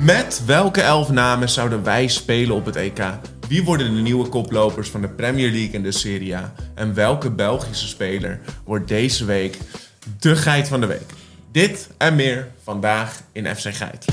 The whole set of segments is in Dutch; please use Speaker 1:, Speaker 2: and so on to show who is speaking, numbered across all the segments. Speaker 1: Met welke elf namen zouden wij spelen op het EK? Wie worden de nieuwe koplopers van de Premier League en de Serie A? En welke Belgische speler wordt deze week de geit van de week? Dit en meer vandaag in FC Geit.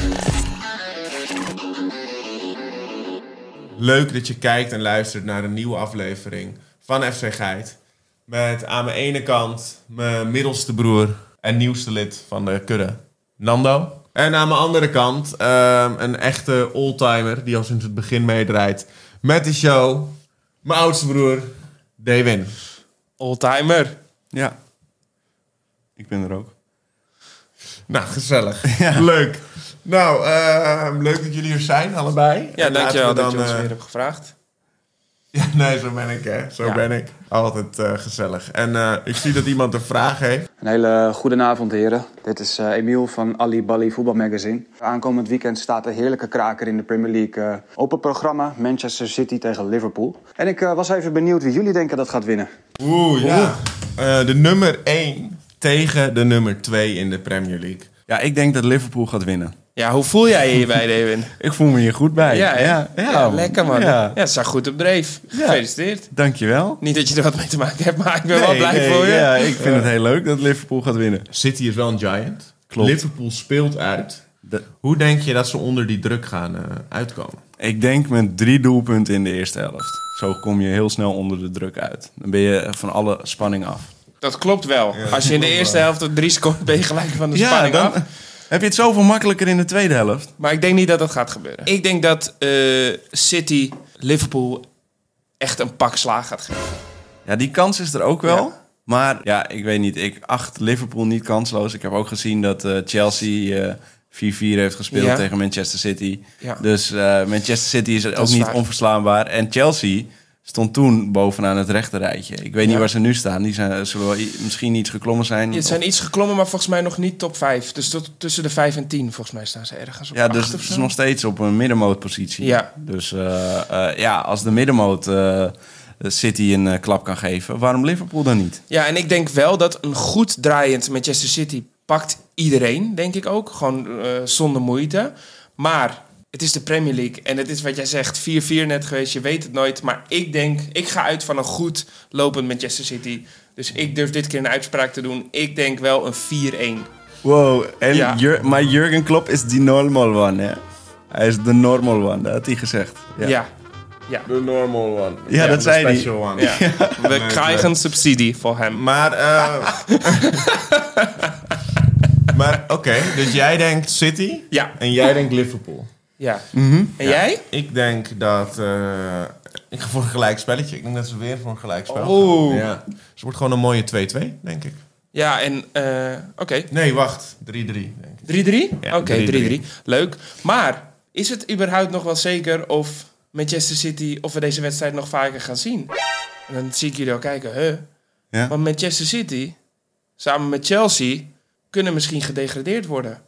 Speaker 1: Leuk dat je kijkt en luistert naar een nieuwe aflevering van FC Geit. Met aan mijn ene kant mijn middelste broer en nieuwste lid van de kudde, Nando. En aan mijn andere kant ehm, een echte oldtimer die al sinds het begin meedraait met de show. Mijn oudste broer, Dewin.
Speaker 2: Oldtimer. Ja.
Speaker 3: Ik ben er ook.
Speaker 1: Nou, gezellig. Leuk. Nou, ehm, leuk dat jullie er zijn, allebei.
Speaker 2: Ja,
Speaker 1: En laten
Speaker 2: dankjewel
Speaker 1: we
Speaker 2: dat je ons
Speaker 1: eh,
Speaker 2: weer hebt gevraagd.
Speaker 1: Ja, nee, zo ben ik, hè. Zo
Speaker 2: Ja.
Speaker 1: ben ik. Altijd eh, gezellig. En eh, ik zie dat iemand een vraag heeft.
Speaker 4: Een hele goede avond, heren. Dit is eh, Emiel van Ali Bali Voetbalmagazine. Aankomend weekend staat de heerlijke kraker in de Premier League. eh, open programma Manchester City tegen Liverpool. En ik eh, was even benieuwd wie jullie denken dat gaat winnen.
Speaker 1: Oeh, ja. Eh, de nummer 1 tegen de nummer 2 in de Premier League.
Speaker 3: Ja, ik denk dat Liverpool gaat winnen.
Speaker 2: Ja, hoe voel jij je hierbij, Dewin?
Speaker 3: Ik voel me hier goed bij.
Speaker 2: ja, hè? ja, lekker man. Ja.
Speaker 3: Ja.
Speaker 2: het staat goed op dreef. Gefeliciteerd.
Speaker 3: Dankjewel.
Speaker 2: Niet dat je er wat mee te maken hebt, maar ik ben
Speaker 1: Oh,
Speaker 2: wel
Speaker 3: Nee,
Speaker 2: blij
Speaker 3: nee,
Speaker 2: voor je.
Speaker 3: Ja, ik vind het heel leuk dat Liverpool gaat winnen.
Speaker 1: City is wel een giant.
Speaker 3: Klopt.
Speaker 1: Liverpool speelt uit.
Speaker 3: De-
Speaker 1: Hoe denk je dat ze onder die druk gaan eh, uitkomen?
Speaker 3: ik denk met drie doelpunten in de eerste helft. Zo kom je heel snel onder de druk uit. Dan ben je van alle spanning af.
Speaker 2: Dat klopt wel. Als je in de eerste helft tot drie scoort, ben je gelijk van de spanning
Speaker 3: dan
Speaker 2: af.
Speaker 3: heb je het zoveel makkelijker in de tweede helft.
Speaker 2: Maar ik denk niet dat dat gaat gebeuren. Ik denk dat eh, City Liverpool echt een pak slaag gaat geven.
Speaker 3: Ja, die kans is er ook wel. Maar ja, ik weet niet. Ik acht Liverpool niet kansloos. Ik heb ook gezien dat eh, Chelsea eh, 4-4 heeft gespeeld
Speaker 2: Ja.
Speaker 3: tegen Manchester City.
Speaker 2: Ja.
Speaker 3: Dus eh, Manchester City is ook
Speaker 2: is
Speaker 3: niet
Speaker 2: waar.
Speaker 3: onverslaanbaar. En Chelsea stond toen bovenaan het rechterrijtje. Ik weet niet waar ze nu staan. Die zijn, zullen wel i- misschien iets geklommen zijn.
Speaker 2: Het zijn iets geklommen, maar volgens mij nog niet top 5. Dus tot, tussen de 5 en 10 volgens mij staan ze ergens op
Speaker 3: Ja,
Speaker 2: acht
Speaker 3: dus
Speaker 2: of
Speaker 3: het
Speaker 2: zo.
Speaker 3: is nog steeds op een middenmootpositie.
Speaker 2: Ja.
Speaker 3: Dus eh, eh, ja, als de middenmoot eh, City een eh, klap kan geven, waarom Liverpool dan niet?
Speaker 2: Ja, en ik denk wel dat een goed draaiend Manchester City pakt iedereen, denk ik ook. Gewoon eh, zonder moeite. Maar het is de Premier League en het is wat jij zegt, 4-4 net geweest, je weet het nooit. Maar ik denk, ik ga uit van een goed lopend Manchester City. Dus ik durf dit keer een uitspraak te doen. Ik denk wel een 4-1.
Speaker 3: Wow, en
Speaker 2: Ja.
Speaker 3: Jur- maar Jurgen Klopp is die normal one, hè? Hij is de normal one, dat had hij gezegd.
Speaker 2: Ja.
Speaker 3: ja.
Speaker 2: ja.
Speaker 1: De normal one.
Speaker 3: Ja, dat
Speaker 1: de
Speaker 3: zei die.
Speaker 1: special one.
Speaker 2: we krijgen subsidie voor hem.
Speaker 1: Maar, eh, maar oké, dus jij denkt City
Speaker 2: Ja,
Speaker 1: en jij denkt Liverpool.
Speaker 2: Mhm. ja. En jij?
Speaker 1: Ik denk dat. eh, ik ga voor een gelijk spelletje. Ik denk dat ze weer voor een gelijk spel. gaan.
Speaker 2: Oeh.
Speaker 1: Ja. Dus het wordt gewoon een mooie 2-2, denk ik.
Speaker 2: Ja, en eh, oké.
Speaker 1: Nee, wacht. 3-3, denk ik.
Speaker 2: 3-3?
Speaker 1: Ja,
Speaker 2: Oké,
Speaker 1: 3-3.
Speaker 2: 3-3. Leuk. Maar is het überhaupt nog wel zeker of Manchester City of we deze wedstrijd nog vaker gaan zien? En dan zie ik jullie al kijken, huh?
Speaker 3: Ja.
Speaker 2: Want Manchester City samen met Chelsea kunnen misschien gedegradeerd worden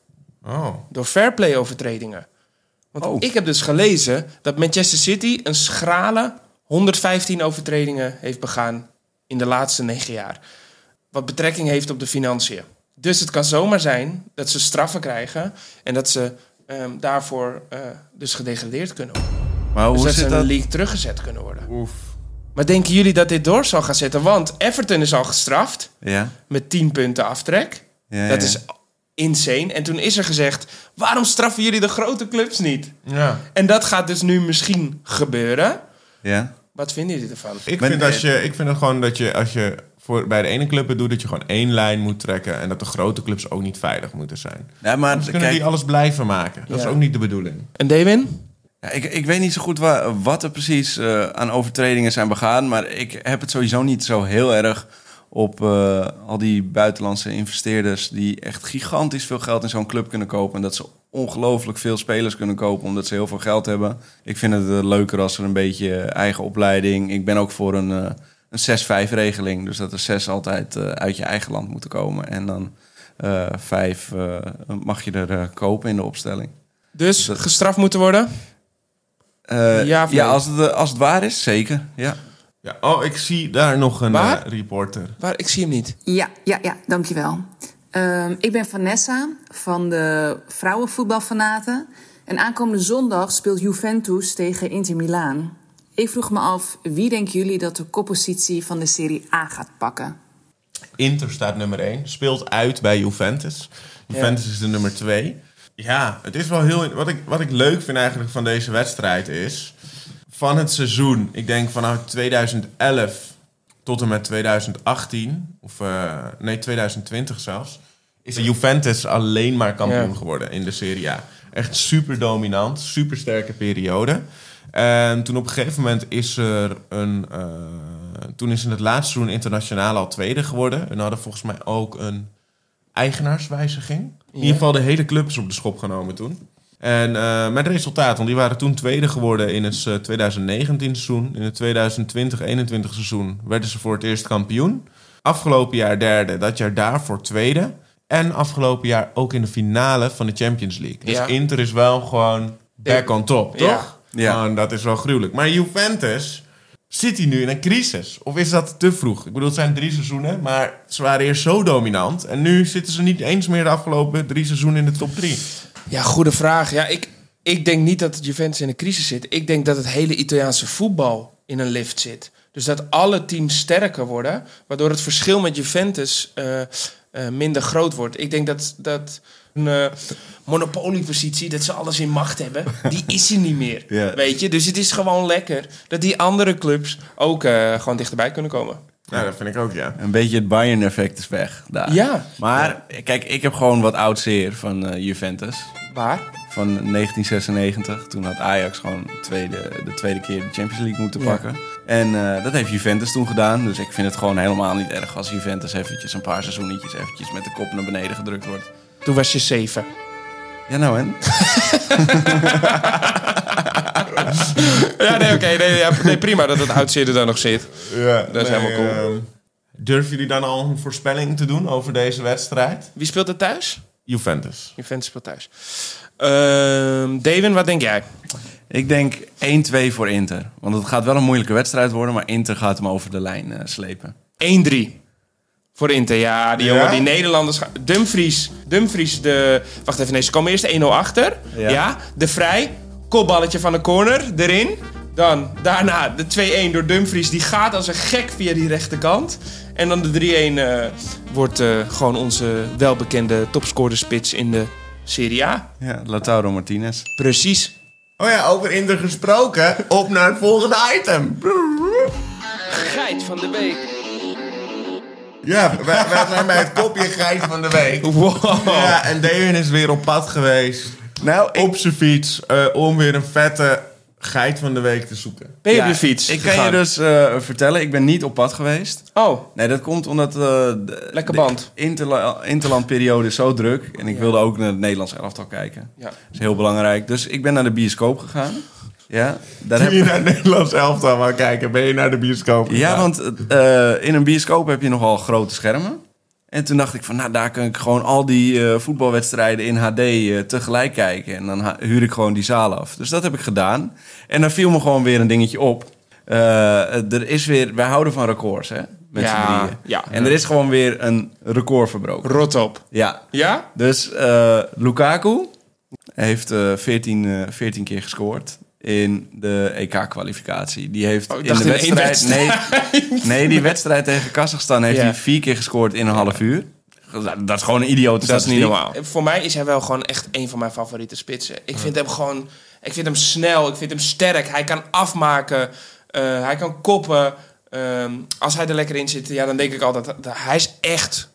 Speaker 1: Oh.
Speaker 2: door fairplay overtredingen. Want
Speaker 3: Oh.
Speaker 2: ik heb dus gelezen dat Manchester City een schrale 115 overtredingen heeft begaan in de laatste negen jaar. Wat betrekking heeft op de financiën. Dus het kan zomaar zijn dat ze straffen krijgen en dat ze ehm, daarvoor eh, dus gedegradeerd kunnen worden.
Speaker 3: Maar hoe
Speaker 2: dus dat ze
Speaker 3: zit
Speaker 2: in
Speaker 3: dat?
Speaker 2: de league teruggezet kunnen worden.
Speaker 1: Oef.
Speaker 2: Maar denken jullie dat dit door zal gaan zetten? Want Everton is al gestraft
Speaker 3: Ja.
Speaker 2: met 10 punten aftrek.
Speaker 3: Ja,
Speaker 2: dat
Speaker 3: ja.
Speaker 2: is insane. En toen is er gezegd: waarom straffen jullie de grote clubs niet?
Speaker 1: Ja.
Speaker 2: En dat gaat dus nu misschien gebeuren.
Speaker 3: ja.
Speaker 2: Wat vinden jullie ervan?
Speaker 1: Ik
Speaker 3: Maar-
Speaker 1: vind, als je, ik vind het gewoon dat je, als je voor, bij de ene club het doet, dat je gewoon één lijn moet trekken. En dat de grote clubs ook niet veilig moeten zijn.
Speaker 3: Ja, maar
Speaker 1: Anders kunnen
Speaker 3: kijk,
Speaker 1: die alles blijven maken. Dat
Speaker 2: Ja.
Speaker 1: is ook niet de bedoeling.
Speaker 2: En Dewin?
Speaker 3: ja, ik, ik weet niet zo goed wa- wat er precies eh, aan overtredingen zijn begaan. Maar ik heb het sowieso niet zo heel erg op eh, al die buitenlandse investeerders... die echt gigantisch veel geld in zo'n club kunnen kopen. En dat ze ongelooflijk veel spelers kunnen kopen omdat ze heel veel geld hebben. Ik vind het eh, leuker als er een beetje eh, eigen opleiding... Ik ben ook voor een, eh, een 6-5 regeling. Dus dat er zes altijd eh, uit je eigen land moeten komen. En dan eh, vijf eh, mag je er eh, kopen in de opstelling.
Speaker 2: Dus
Speaker 3: Dat-
Speaker 2: gestraft moeten worden?
Speaker 3: Eh,
Speaker 2: Ja
Speaker 3: ja,
Speaker 2: of nee?
Speaker 3: als, het, eh, als het waar is, zeker. Ja.
Speaker 1: Ja. Oh, ik zie daar nog een
Speaker 2: Waar?
Speaker 1: eh, reporter.
Speaker 2: Waar, ik zie hem niet.
Speaker 5: Ja, ja, ja, dankjewel. Ehm ik ben Vanessa van de Vrouwenvoetbalfanaten. En aankomende zondag speelt Juventus tegen Inter Milaan. Ik vroeg me af, wie denken jullie dat de koppositie van de Serie A gaat pakken?
Speaker 1: Inter staat nummer 1. Speelt uit bij Juventus. Juventus is de nummer 2. Ja, het is wel heel. Wat ik, wat ik leuk vind eigenlijk van deze wedstrijd is. Van het seizoen, ik denk vanaf 2011 tot en met 2018, of eh, nee, 2020 zelfs. Is Juventus alleen maar kampioen
Speaker 2: Ja.
Speaker 1: geworden in de Serie A. Echt super dominant, super sterke periode. En toen op een gegeven moment is er een. eh, toen is in het laatste seizoen internationaal al tweede geworden. En hadden volgens mij ook een eigenaarswijziging. In ieder geval de hele club is op de schop genomen toen. En eh, met resultaat, want die waren toen tweede geworden in het eh, 2019 seizoen. In het 2020-21 seizoen werden ze voor het eerst kampioen. Afgelopen jaar derde, dat jaar daarvoor tweede. En afgelopen jaar ook in de finale van de Champions League. Dus
Speaker 2: Ja.
Speaker 1: Inter is wel gewoon back on top,
Speaker 2: Ja.
Speaker 1: toch?
Speaker 3: Ja.
Speaker 1: Gewoon, dat is wel gruwelijk. Maar Juventus, zit hij nu in een crisis? Of is dat te vroeg? Ik bedoel, het zijn drie seizoenen, maar ze waren eerst zo dominant. En nu zitten ze niet eens meer de afgelopen drie seizoenen in de top drie.
Speaker 2: Ja, goede vraag. Ja, ik, ik denk niet dat het Juventus in een crisis zit. Ik denk dat het hele Italiaanse voetbal in een lift zit. Dus dat alle teams sterker worden, waardoor het verschil met Juventus eh, eh, minder groot wordt. Ik denk dat, dat een eh, monopoliepositie, dat ze alles in macht hebben, die is er niet meer.
Speaker 3: Ja.
Speaker 2: Weet je? Dus het is gewoon lekker dat die andere clubs ook eh, gewoon dichterbij kunnen komen.
Speaker 1: Nou, dat vind ik ook, ja.
Speaker 3: Een beetje het Bayern-effect is weg daar.
Speaker 2: Ja,
Speaker 3: Maar kijk, ik heb gewoon wat oud zeer van eh, Juventus.
Speaker 2: waar?
Speaker 3: Van 1996. Toen had Ajax gewoon tweede, de tweede keer de Champions League moeten
Speaker 2: Ja.
Speaker 3: pakken. En eh, dat heeft Juventus toen gedaan. Dus ik vind het gewoon helemaal niet erg als Juventus eventjes een paar seizoenetjes eventjes met de kop naar beneden gedrukt wordt.
Speaker 2: Toen was je zeven.
Speaker 3: Ja nou en?
Speaker 2: Ja, nee, oké. nee, ja, nee, prima dat het oud er dan nog zit.
Speaker 1: ja
Speaker 2: dat is helemaal cool.
Speaker 1: ehm, durven jullie dan al een voorspelling te doen over deze wedstrijd?
Speaker 2: Wie speelt er thuis?
Speaker 1: Juventus.
Speaker 2: Juventus speelt thuis. Ehm David, wat denk jij?
Speaker 3: Ik denk 1-2 voor Inter. Want het gaat wel een moeilijke wedstrijd worden, maar Inter gaat hem over de lijn eh, slepen.
Speaker 2: 1-3. Voor Inter, ja, die
Speaker 1: Ja?
Speaker 2: jongen, die Nederlanders... gaan- Dumfries, Dumfries, de... Wacht even, nee, ze komen eerst 1-0 achter. Ja.
Speaker 3: Ja.
Speaker 2: de Vrij, kopballetje van de corner, erin. Dan, daarna, de 2-1 door Dumfries, die gaat als een gek via die rechterkant. En dan de 3-1 eh, wordt eh, gewoon onze welbekende topscorerspits in de Serie A.
Speaker 3: Ja, Lautaro Martinez.
Speaker 2: Precies.
Speaker 1: Oh ja, over Inter gesproken. Op naar het volgende item.
Speaker 2: Geit van de week.
Speaker 1: Ja, wij, wij zijn bij het kopje geit van de week.
Speaker 2: Wow.
Speaker 1: Ja, en Damien is weer op pad geweest. Nou, op zijn fiets. eh, om weer een vette geit van de week te zoeken.
Speaker 2: Ben je
Speaker 3: Ja,
Speaker 2: op je fiets
Speaker 3: Ik kan
Speaker 2: gegaan?
Speaker 3: je dus eh, vertellen, ik ben niet op pad geweest.
Speaker 2: Oh,
Speaker 3: Nee, dat komt omdat eh, de,
Speaker 2: Lekker
Speaker 3: de
Speaker 2: band.
Speaker 3: interla- interlandperiode is zo druk. En ik wilde ook naar het Nederlands elftal kijken.
Speaker 2: ja.
Speaker 3: Dat is heel belangrijk. Dus ik ben naar de bioscoop gegaan. Ja, daar
Speaker 1: Kun
Speaker 3: heb
Speaker 1: je naar het Nederlands elftal maar kijken? Ben je naar de bioscoop?
Speaker 3: ja
Speaker 1: gegaan?
Speaker 3: want eh, in een bioscoop heb je nogal grote schermen. En toen dacht ik van, nou daar kan ik gewoon al die eh, voetbalwedstrijden in HD eh, tegelijk kijken. En dan ha- huur ik gewoon die zaal af. Dus dat heb ik gedaan. En daar viel me gewoon weer een dingetje op. Eh, er is weer, wij houden van records hè, met
Speaker 2: Ja,
Speaker 3: z'n drieën.
Speaker 2: ja.
Speaker 3: En er is gewoon weer een record verbroken.
Speaker 2: Rot op.
Speaker 3: Ja,
Speaker 2: Ja?
Speaker 3: Dus eh, Lukaku heeft eh 14, eh, 14 keer gescoord in de EK-kwalificatie. Die heeft
Speaker 2: Oh, ik
Speaker 3: in
Speaker 2: dacht
Speaker 3: de
Speaker 2: in één
Speaker 3: wedstrijd... Nee, nee, die wedstrijd tegen Kazachstan heeft
Speaker 2: Ja.
Speaker 3: hij vier keer gescoord in een half uur. Dat- Dat is gewoon een idioot.
Speaker 2: Voor mij is hij wel gewoon echt een van mijn favoriete spitsen. Ik vind hem gewoon... Ik vind hem snel, ik vind hem sterk. Hij kan afmaken, eh, hij kan koppen. Ehm, als hij er lekker in zit, ja, dan denk ik altijd... dat- Hij is echt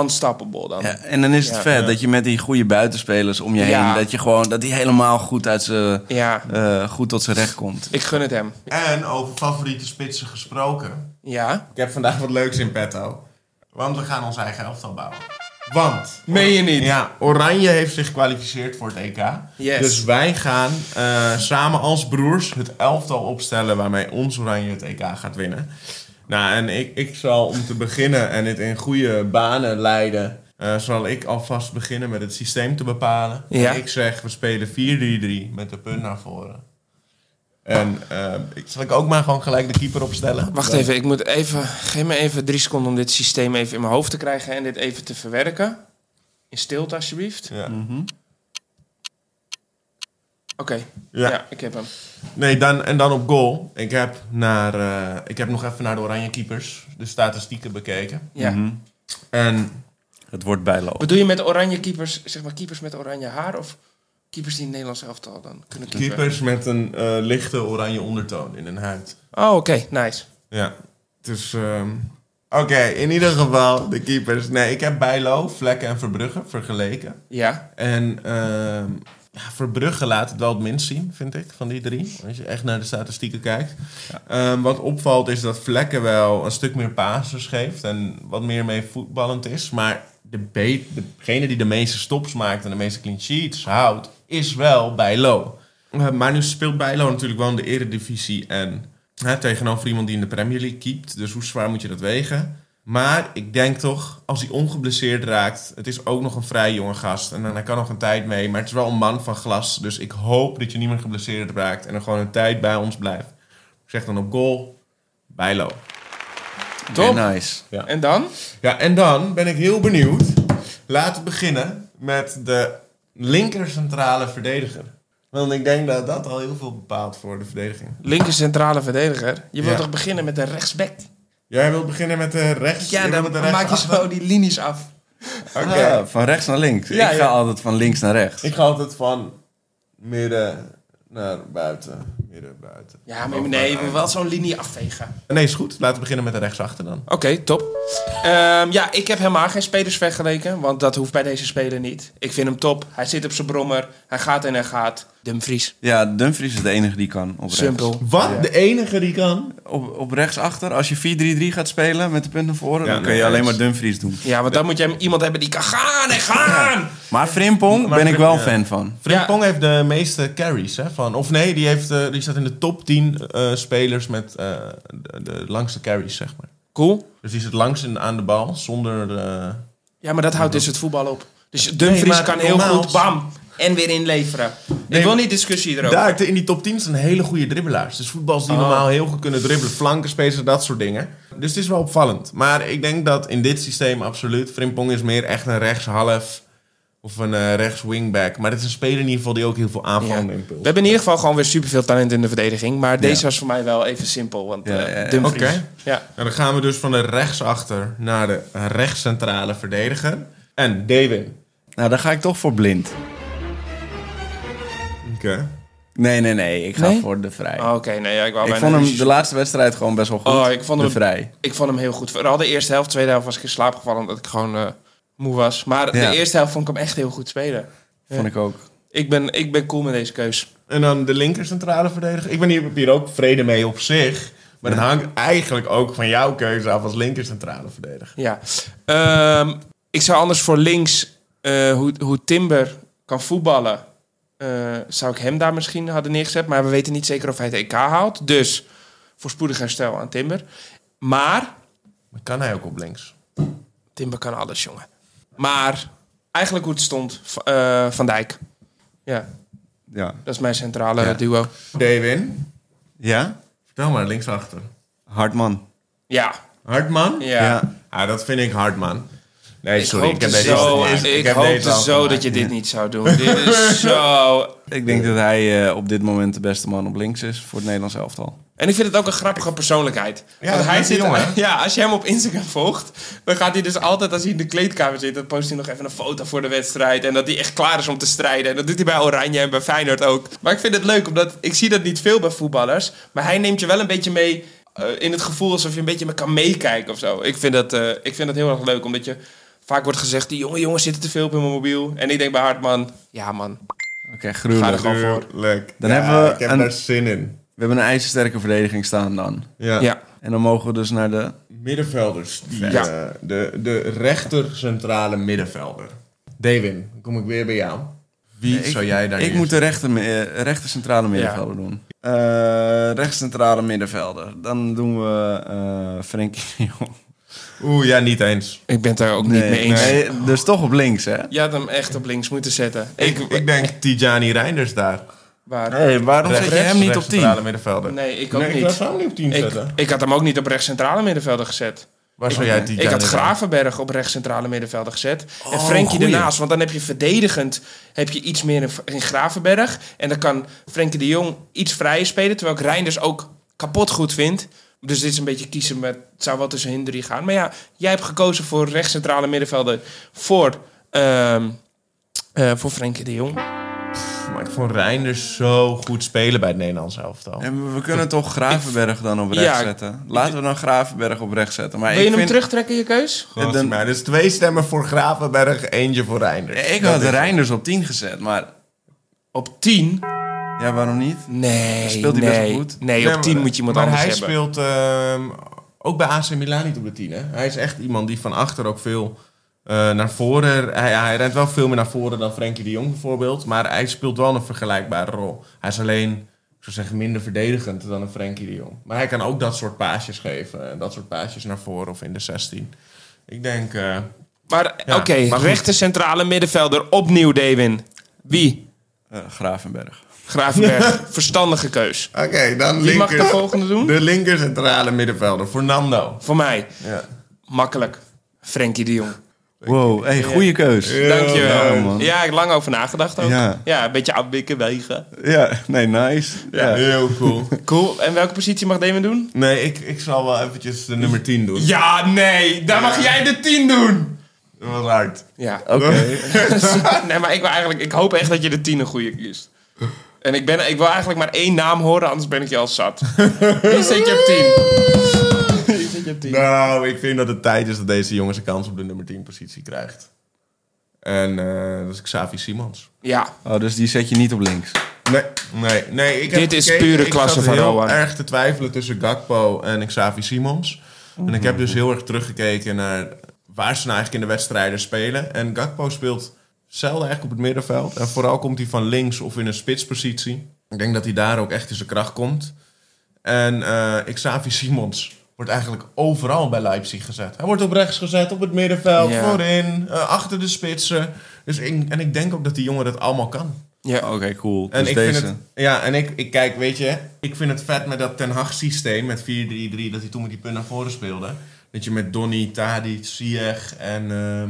Speaker 2: unstoppable dan.
Speaker 3: Ja, en dan is het
Speaker 2: Ja,
Speaker 3: vet
Speaker 2: ja.
Speaker 3: dat je met die goede buitenspelers om je heen...
Speaker 2: Ja.
Speaker 3: dat je gewoon, dat die helemaal goed, uit zijn,
Speaker 2: Ja,
Speaker 3: eh, goed tot zijn recht komt.
Speaker 2: ik gun het hem.
Speaker 1: En over favoriete spitsen gesproken.
Speaker 2: Ja?
Speaker 1: Ik heb vandaag wat leuks in petto. Want we gaan ons eigen elftal bouwen. Want.
Speaker 2: Meen je niet?
Speaker 1: Ja, Oranje heeft zich gekwalificeerd voor het EK.
Speaker 2: Yes.
Speaker 1: Dus wij gaan eh, samen als broers het elftal opstellen waarmee ons Oranje het EK gaat winnen. Nou, en ik, ik zal om te beginnen en het in goede banen leiden, eh, zal ik alvast beginnen met het systeem te bepalen.
Speaker 2: Ja.
Speaker 1: Ik zeg, we spelen 4-3-3 met de punt naar voren. En eh, ik- zal ik ook maar gewoon gelijk de keeper opstellen?
Speaker 2: Wacht even, ik moet even... Geef me even drie seconden om dit systeem even in mijn hoofd te krijgen... en dit even te Mhm. verwerken. In stilte, alsjeblieft.
Speaker 1: Ja. Ja.
Speaker 2: ja, ik heb hem.
Speaker 1: Nee, dan, en dan op goal. Ik heb, naar, eh, ik heb nog even naar de Oranje Keepers de statistieken bekeken.
Speaker 2: Ja.
Speaker 1: En
Speaker 3: Het wordt bijlo.
Speaker 2: Wat doe je met oranje keepers? Zeg maar keepers met oranje haar of keepers die in het Nederlands elftal dan kunnen keeperen?
Speaker 1: keepers met een eh, lichte oranje ondertoon in hun huid.
Speaker 2: Oh, oké, nice.
Speaker 1: Ja. Dus, ehm, oké, in ieder geval de keepers. Nee, ik heb Bijlo, Vlekken en Verbrugge vergeleken.
Speaker 2: Ja,
Speaker 1: En ehm, ja, Verbrugge laat het wel het minst zien, vind ik, van die drie. Als je echt naar de statistieken kijkt. Ehm, wat opvalt is dat Vlekken wel een stuk meer passes geeft en wat meer mee voetballend is. Maar de be- degene die de meeste stops maakt en de meeste clean sheets houdt, is wel Bijlo. Eh, maar nu speelt Bijlo natuurlijk wel in de eredivisie en hè, tegenover iemand die in de Premier League keept. Dus hoe zwaar moet je dat wegen? Maar ik denk toch, als hij ongeblesseerd raakt, het is ook nog een vrij jonge gast. En hij kan nog een tijd mee, maar het is wel een man van glas. Dus ik hoop dat je niet meer geblesseerd raakt en er gewoon een tijd bij ons blijft. Ik zeg dan op goal, Bijlo.
Speaker 2: top.
Speaker 3: nice.
Speaker 2: En dan?
Speaker 1: Ja, en dan ben ik heel benieuwd. Laten we beginnen met de linker centrale verdediger. Want ik denk dat dat al heel veel bepaalt voor de verdediging.
Speaker 2: Linker centrale verdediger. Je wilt
Speaker 1: Ja.
Speaker 2: toch beginnen met de rechtsback?
Speaker 1: Jij wilt beginnen met de rechts?
Speaker 2: Ja,
Speaker 1: je wilt met
Speaker 2: dan
Speaker 1: de rechts
Speaker 2: maak je
Speaker 1: achter?
Speaker 2: zo die linies af.
Speaker 1: Oké.
Speaker 3: Ja, van rechts naar links.
Speaker 2: Ja,
Speaker 3: ik ga
Speaker 2: ja.
Speaker 3: altijd van links naar rechts.
Speaker 1: Ik ga altijd van midden naar buiten. Midden, buiten.
Speaker 2: Ja, maar
Speaker 1: Oh,
Speaker 2: nee, we wel zo'n linie afvegen.
Speaker 1: Nee, is goed. Laten we beginnen met de rechtsachter dan.
Speaker 2: Oké, top. Ehm, ja, ik heb helemaal geen spelers vergeleken, want dat hoeft bij deze speler niet. Ik vind hem top. Hij zit op zijn brommer. Hij gaat en hij gaat. Dumfries.
Speaker 3: Ja, Dumfries is de enige die kan op rechts.
Speaker 2: Simpel.
Speaker 1: Wat? De enige die kan?
Speaker 3: Op, op rechtsachter, als je 4-3-3 gaat spelen met de punten voor,
Speaker 1: Ja,
Speaker 3: dan kun
Speaker 1: nee,
Speaker 3: je alleen
Speaker 1: eens.
Speaker 3: maar Dumfries doen.
Speaker 2: Ja, want dan moet je iemand hebben die kan gaan en gaan.
Speaker 3: Maar Frimpong
Speaker 1: Maar
Speaker 3: ben ik
Speaker 1: Frim-
Speaker 3: wel
Speaker 1: ja.
Speaker 3: fan van.
Speaker 1: Frimpong heeft de meeste carries, hè? Van, of nee, die, heeft, eh, die staat in de top 10 eh, spelers met eh, de, de langste carries, zeg maar.
Speaker 2: Cool.
Speaker 1: Dus die zit langs in, aan de bal, zonder... eh,
Speaker 2: Ja, maar dat houdt dus het voetbal op. Dus Dumfries
Speaker 1: Nee, maar
Speaker 2: kan heel
Speaker 1: normaal-
Speaker 2: goed, bam, en weer inleveren. ik wil
Speaker 1: maar-
Speaker 2: niet discussie erover.
Speaker 1: Daar, in die top 10 zijn hele goede dribbelaars. Dus voetballers die
Speaker 2: Oh.
Speaker 1: normaal heel goed kunnen dribbelen. Flanken, spacen, dat soort dingen. Dus het is wel opvallend. Maar ik denk dat in dit systeem absoluut... Frimpong is meer echt een rechtshalf of een eh, rechtswingback. Maar het is een speler in ieder geval die ook heel veel
Speaker 2: Ja.
Speaker 1: aanvallende
Speaker 2: We
Speaker 1: impuls
Speaker 2: hebben in ieder geval gewoon weer superveel talent in de verdediging. Maar deze was voor mij wel even simpel, want
Speaker 3: Ja,
Speaker 2: eh,
Speaker 3: ja, ja.
Speaker 2: Dumfries.
Speaker 1: Oké.
Speaker 2: Ja.
Speaker 1: En dan gaan we dus van de rechtsachter naar de rechtscentrale verdediger. En Dewin.
Speaker 3: Nou, dan ga ik toch voor blind.
Speaker 1: Oké.
Speaker 3: Nee, nee, nee. Ik ga
Speaker 2: Nee?
Speaker 3: voor de vrij.
Speaker 2: Oh, Oké, nee, ja, ik wou
Speaker 3: ik
Speaker 2: bijna
Speaker 3: vond hem
Speaker 2: ruzie
Speaker 3: de laatste wedstrijd gewoon best wel goed.
Speaker 2: Oh, ik vond
Speaker 3: de
Speaker 2: hem-
Speaker 3: vrij.
Speaker 2: Ik vond hem heel goed. Vooral de eerste helft. Tweede helft was ik in slaap gevallen omdat ik gewoon eh, moe was. Maar
Speaker 3: Ja.
Speaker 2: de eerste helft vond ik hem echt heel goed spelen.
Speaker 3: Vond ik ook.
Speaker 2: Ik ben, ik ben cool met deze keus.
Speaker 1: En dan de linker centrale verdediger. Ik ben hier, heb hier ook vrede mee op zich. Maar dat hangt eigenlijk ook van jouw keuze af als linker centrale verdediger.
Speaker 2: Ja. Ehm, ik zou anders voor links, eh, hoe, hoe Timber kan voetballen, eh, zou ik hem daar misschien hadden neergezet. Maar we weten niet zeker of hij het EK haalt. Dus voorspoedig herstel aan Timber. Maar
Speaker 1: Maar kan hij ook op links?
Speaker 2: Timber kan alles, jongen. Maar eigenlijk hoe het stond, v- eh, Van Dijk. Ja,
Speaker 3: Ja.
Speaker 2: dat is mijn centrale
Speaker 3: Ja.
Speaker 2: duo.
Speaker 1: Dewin,
Speaker 3: Ja?
Speaker 1: vertel maar linksachter.
Speaker 3: Hartman.
Speaker 2: Ja,
Speaker 1: Hardman?
Speaker 2: Ja.
Speaker 1: Ah, dat vind ik Hardman. Nee,
Speaker 2: Ik
Speaker 1: sorry.
Speaker 2: hoopte
Speaker 1: heb deze
Speaker 2: zo,
Speaker 1: al gemaakt.
Speaker 2: ik
Speaker 1: heb
Speaker 2: hoopte
Speaker 1: deze al
Speaker 2: zo
Speaker 1: gemaakt.
Speaker 2: dat je dit niet zou doen. dit is zo...
Speaker 3: Ik denk dat hij eh, op dit moment de beste man op links is voor het Nederlands elftal.
Speaker 2: En ik vind het ook een grappige persoonlijkheid.
Speaker 1: Ja, dat is een leuke jongen.
Speaker 2: Ja, als je hem op Instagram volgt, dan gaat hij dus altijd als hij in de kleedkamer zit, dan post hij nog even een foto voor de wedstrijd en dat hij echt klaar is om te strijden. En dat doet hij bij Oranje en bij Feyenoord ook. Maar ik vind het leuk omdat ik zie dat niet veel bij voetballers, maar hij neemt je wel een beetje mee eh, in het gevoel alsof je een beetje me kan meekijken of zo. Ik vind dat, eh, ik vind dat heel erg leuk omdat je vaak wordt gezegd die jonge jongens zitten te veel op hun mobiel en ik denk bij Hartman, ja man,
Speaker 3: Oké,
Speaker 2: Ga er
Speaker 3: gruwelijk.
Speaker 2: gewoon-
Speaker 1: Tuurlijk.
Speaker 3: Dan
Speaker 1: Ja,
Speaker 3: hebben we
Speaker 1: ik heb
Speaker 3: een-
Speaker 1: daar zin in.
Speaker 3: We hebben een ijzersterke verdediging staan dan.
Speaker 1: Ja.
Speaker 2: ja.
Speaker 3: En dan mogen we dus naar de...
Speaker 1: Middenvelders. Die,
Speaker 2: Ja.
Speaker 1: eh, de, de rechter centrale middenvelder. Dewin, dan kom ik weer bij jou. Wie
Speaker 3: Nee, ik-
Speaker 1: zou jij daar
Speaker 3: Ik
Speaker 1: neerzetten?
Speaker 3: moet de rechter, eh, rechter centrale middenvelder doen. Eh rechts centrale middenvelder. Dan doen we eh Frenkie de Jong.
Speaker 1: Oeh, ja, niet eens.
Speaker 2: Ik ben het daar ook niet mee eens.
Speaker 3: nee, dus toch op links, hè?
Speaker 2: Je had hem echt op links moeten zetten.
Speaker 1: Ik, ik denk Tijani Reinders daar.
Speaker 2: waar.
Speaker 3: Hey, waarom
Speaker 1: Rechts-
Speaker 3: zet je hem niet op
Speaker 1: rechts
Speaker 3: 10?
Speaker 1: centrale middenvelder.
Speaker 2: Nee, ik ook
Speaker 1: ik
Speaker 2: niet.
Speaker 1: zou hem niet op 10
Speaker 2: Ik,
Speaker 1: zetten.
Speaker 2: ik had hem ook niet op rechts centrale middenvelder gezet.
Speaker 1: Waar zou jij Tijani
Speaker 2: Ik had
Speaker 1: dan?
Speaker 2: Gravenberg op rechtscentrale middenvelder gezet. en Frenkie ernaast. Want dan heb je verdedigend heb je iets meer in, in Gravenberg. En dan kan Frenkie de Jong iets vrijer spelen. Terwijl ik Reinders ook kapot goed vind. Dus dit is een beetje kiezen met... Het zou wel tussen hun drie gaan. Maar ja, jij hebt gekozen voor rechtscentrale middenvelder. Voor, ehm eh, voor Frenkie de Jong.
Speaker 1: Maar ik vond Reinders zo goed spelen bij het Nederlands elftal.
Speaker 3: En we kunnen toch Gravenberg dan op rechts
Speaker 2: Ja, ik-
Speaker 3: zetten? Laten we dan Gravenberg op rechts zetten. Maar
Speaker 2: Wil je
Speaker 3: ik
Speaker 2: hem
Speaker 3: vind,
Speaker 2: terugtrekken, je keus?
Speaker 1: Gewoon,
Speaker 3: dan-
Speaker 1: maar dus twee stemmen voor Gravenberg, eentje voor Reinders.
Speaker 3: Ik
Speaker 1: Dat
Speaker 3: had
Speaker 1: is-
Speaker 3: Reinders op 10 gezet, maar
Speaker 2: Op 10?
Speaker 3: ja, waarom niet?
Speaker 2: Nee,
Speaker 3: Speelt hij
Speaker 2: nee.
Speaker 3: best wel goed?
Speaker 2: Nee,
Speaker 1: Nee,
Speaker 2: op 10
Speaker 1: maar-
Speaker 2: moet je iemand
Speaker 1: maar
Speaker 2: anders
Speaker 1: hij
Speaker 2: hebben.
Speaker 1: speelt ehm, ook bij AC Milan niet op de 10. Hè? Hij is echt iemand die van achter ook veel eh, naar voren... Hij, hij rent wel veel meer naar voren dan Frenkie de Jong bijvoorbeeld. Maar hij speelt wel een vergelijkbare rol. Hij is alleen, ik zou zeggen, minder verdedigend dan een Frenkie de Jong. Maar hij kan ook dat soort paasjes geven. eh, Dat soort paasjes naar voren of in de 16. Ik denk... eh,
Speaker 2: Maar
Speaker 1: Ja,
Speaker 2: oké,
Speaker 1: maar goed.
Speaker 2: rechter centrale middenvelder opnieuw, Dewin. Wie?
Speaker 3: Eh, Gravenberg.
Speaker 2: Gravenberg. Verstandige keus.
Speaker 1: Oké, dan
Speaker 2: Wie mag
Speaker 1: linker...
Speaker 2: de volgende doen?
Speaker 1: De linker centrale middenvelder, Fernando.
Speaker 2: Voor mij,
Speaker 1: Ja.
Speaker 2: makkelijk. Frenkie de Jong.
Speaker 3: Wow, hey, goede keus.
Speaker 2: Dankjewel.
Speaker 3: Ja, man.
Speaker 2: Ja, ik heb lang over nagedacht ook. Ja,
Speaker 3: Ja.
Speaker 2: een beetje afwikken, wegen.
Speaker 3: Ja, nee, nice. Ja.
Speaker 1: Heel cool.
Speaker 2: Cool. En welke positie mag Damon doen?
Speaker 1: Nee, ik, ik zal wel eventjes de nummer 10 doen.
Speaker 2: Ja, nee. Daar mag jij de 10 doen.
Speaker 1: Wat hard.
Speaker 2: Ja.
Speaker 3: Oké.
Speaker 2: nee, maar ik, wil eigenlijk, ik hoop echt dat je de 10 een goede kiest. En ik, ben, ik wil eigenlijk maar één naam horen, anders ben ik je al zat. Wie zet je op 10? Wie zet je op 10?
Speaker 1: Nou, ik vind dat het tijd is dat deze jongens een kans op de nummer 10 positie krijgt. En eh, dat is Xavi Simons.
Speaker 2: Ja.
Speaker 3: Oh, dus die zet je niet op links.
Speaker 1: Nee, nee, nee. Ik heb
Speaker 2: Dit is
Speaker 1: gekeken,
Speaker 2: pure
Speaker 1: ik
Speaker 2: klasse
Speaker 1: zat
Speaker 2: van
Speaker 1: heel
Speaker 2: Rowan.
Speaker 1: erg te twijfelen tussen Gakpo en Xavi Simons. En ik heb dus heel erg teruggekeken naar waar ze nou eigenlijk in de wedstrijden spelen. En Gakpo speelt zelden echt op het middenveld. En vooral komt hij van links of in een spitspositie. Ik denk dat hij daar ook echt in zijn kracht komt. En eh Xavi Simons wordt eigenlijk overal bij Leipzig gezet. Hij wordt op rechts gezet, op het middenveld,
Speaker 2: Ja.
Speaker 1: voorin, eh, achter de spitsen. Dus ik, en ik denk ook dat die jongen dat allemaal kan.
Speaker 2: ja.
Speaker 3: Oké, cool.
Speaker 1: En
Speaker 3: Dus
Speaker 1: ik
Speaker 3: deze.
Speaker 1: vind het, ja, en ik, ik kijk, weet je, ik vind het vet met dat Ten Hag systeem, met 4-3-3, dat hij toen met die punt naar voren speelde. Dat je met Donny, Tadic, Ziyech en ehm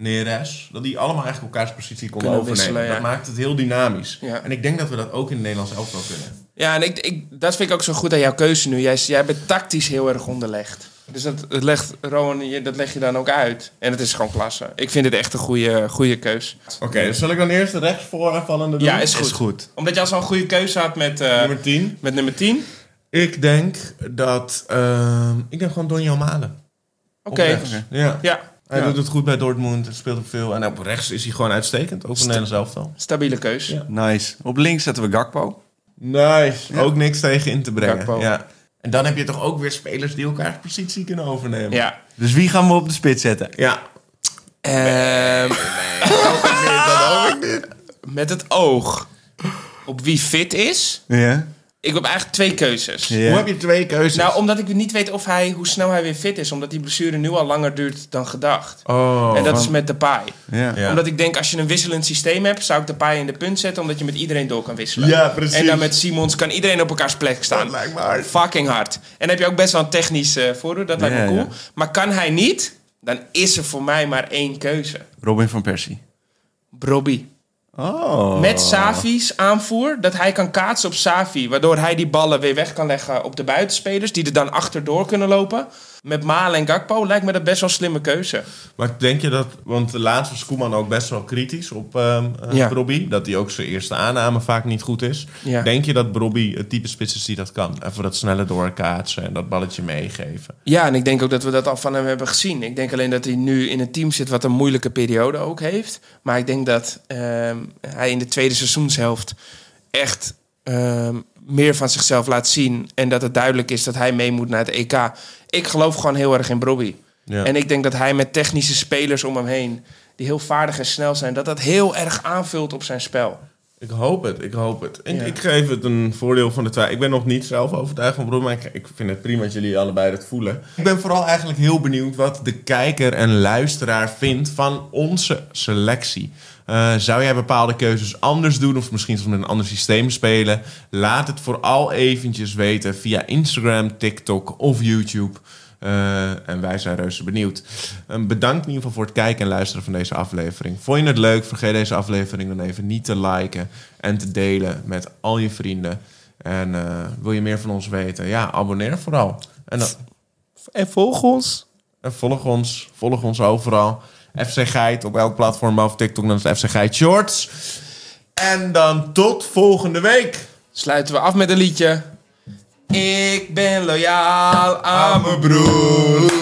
Speaker 1: Neres, dat die allemaal eigenlijk elkaars positie konden
Speaker 2: Kunnen
Speaker 1: overnemen.
Speaker 2: wisselen, ja.
Speaker 1: Dat maakt het heel dynamisch.
Speaker 2: Ja.
Speaker 1: En ik denk dat we dat ook in het Nederlands elftal kunnen.
Speaker 2: Ja, en ik, ik, dat vind ik ook zo goed aan jouw keuze nu. Jij, jij bent tactisch heel erg onderlegd. Dus dat, dat legt, Rowan, je- dat leg je dan ook uit. En het is gewoon klasse. Ik vind het echt een goede, goede keus.
Speaker 1: Oké, dus zal ik dan eerst de rechtsvoorvallende doen?
Speaker 2: Ja, is goed.
Speaker 3: Is goed.
Speaker 2: Omdat je al zo'n goede keuze had met, eh,
Speaker 1: Nummer 10.
Speaker 2: met nummer 10.
Speaker 1: Ik denk dat, ehm, ik denk gewoon Donny Malen.
Speaker 2: Oké.
Speaker 1: Ja.
Speaker 2: Ja,
Speaker 1: Hij
Speaker 3: Ja.
Speaker 1: doet het goed bij Dortmund, hij speelt ook veel. En op rechts is hij gewoon uitstekend, ook voor het Nederlands elftal.
Speaker 2: stabiele keus.
Speaker 1: Ja.
Speaker 3: Nice. Op links zetten we Gakpo.
Speaker 1: Nice. Ook niks tegen in te
Speaker 2: Gakpo.
Speaker 1: brengen. Ja. En dan heb je toch ook weer spelers die elkaar positie kunnen overnemen.
Speaker 2: Ja.
Speaker 3: Dus wie gaan we op de spits zetten?
Speaker 1: Ja.
Speaker 2: Ehm,
Speaker 1: Ah!
Speaker 2: met het oog op wie fit is.
Speaker 3: Ja.
Speaker 2: Ik heb eigenlijk twee keuzes.
Speaker 3: Ja.
Speaker 1: Hoe heb je twee keuzes?
Speaker 2: Nou, omdat ik niet weet of hij, hoe snel hij weer fit is. Omdat die blessure nu al langer duurt dan gedacht.
Speaker 1: oh.
Speaker 2: en dat is met de paai.
Speaker 3: Ja.
Speaker 1: Ja.
Speaker 2: Omdat ik denk, als je een wisselend systeem hebt, zou ik de paai in de punt zetten. Omdat je met iedereen door kan wisselen.
Speaker 1: Ja, precies.
Speaker 2: En dan met Simons kan iedereen op elkaars plek
Speaker 1: Dat
Speaker 3: Oh
Speaker 2: staan.
Speaker 1: lijkt me hard.
Speaker 2: Fucking hard. En dan heb je ook best wel een technisch eh voordeel. Dat lijkt me
Speaker 3: Ja,
Speaker 2: cool.
Speaker 3: ja.
Speaker 2: Maar kan hij niet, dan is er voor mij maar één keuze.
Speaker 3: Robin van Persie.
Speaker 2: Robbie.
Speaker 3: Oh.
Speaker 2: Met Savi's aanvoer, dat hij kan kaatsen op Savi. Waardoor hij die ballen weer weg kan leggen op de buitenspelers. Die er dan achterdoor kunnen lopen. Met Malen en Gakpo lijkt me dat best wel een slimme keuze.
Speaker 1: Maar denk je dat... Want de laatste was Koeman ook best wel kritisch op ehm eh,
Speaker 2: Ja.
Speaker 1: Brobby. Dat hij ook zijn eerste aanname vaak niet goed is.
Speaker 2: Ja.
Speaker 1: Denk je dat Brobby het type spits is die dat kan? Even dat snelle doorkaatsen en dat balletje meegeven.
Speaker 2: Ja, en ik denk ook dat we dat al van hem hebben gezien. Ik denk alleen dat hij nu in een team zit wat een moeilijke periode ook heeft. Maar ik denk dat ehm, hij in de tweede seizoenshelft echt ehm, meer van zichzelf laat zien. En dat het duidelijk is dat hij mee moet naar het EK. Ik geloof gewoon heel erg in Bobby.
Speaker 1: Ja.
Speaker 2: En ik denk dat hij met technische spelers om hem heen, die heel vaardig en snel zijn, dat dat heel erg aanvult op zijn spel.
Speaker 1: Ik hoop het, ik hoop het. Ik,
Speaker 2: Ja.
Speaker 1: ik geef het een voordeel van de twijfel. Ik ben nog niet zelf overtuigd van Broer, maar ik, ik vind het prima dat jullie allebei dat voelen. Ik ben vooral eigenlijk heel benieuwd wat de kijker en luisteraar vindt van onze selectie. Eh, zou jij bepaalde keuzes anders doen of misschien zelfs met een ander systeem spelen? Laat het vooral eventjes weten via Instagram, TikTok of YouTube. Eh, en wij zijn reuze benieuwd. Eh, bedankt in ieder geval voor het kijken en luisteren van deze aflevering. Vond je het leuk? Vergeet deze aflevering dan even niet te liken en te delen met al je vrienden. En eh, wil je meer van ons weten? Ja, abonneer vooral. En, dan-
Speaker 2: En volg ons.
Speaker 1: en volg ons. Volg ons overal. FC Geit op elk platform, behalve TikTok, dan is het FC Geit Shorts. En dan tot volgende week.
Speaker 2: Sluiten we af met een liedje. Ik ben loyaal aan mijn broer.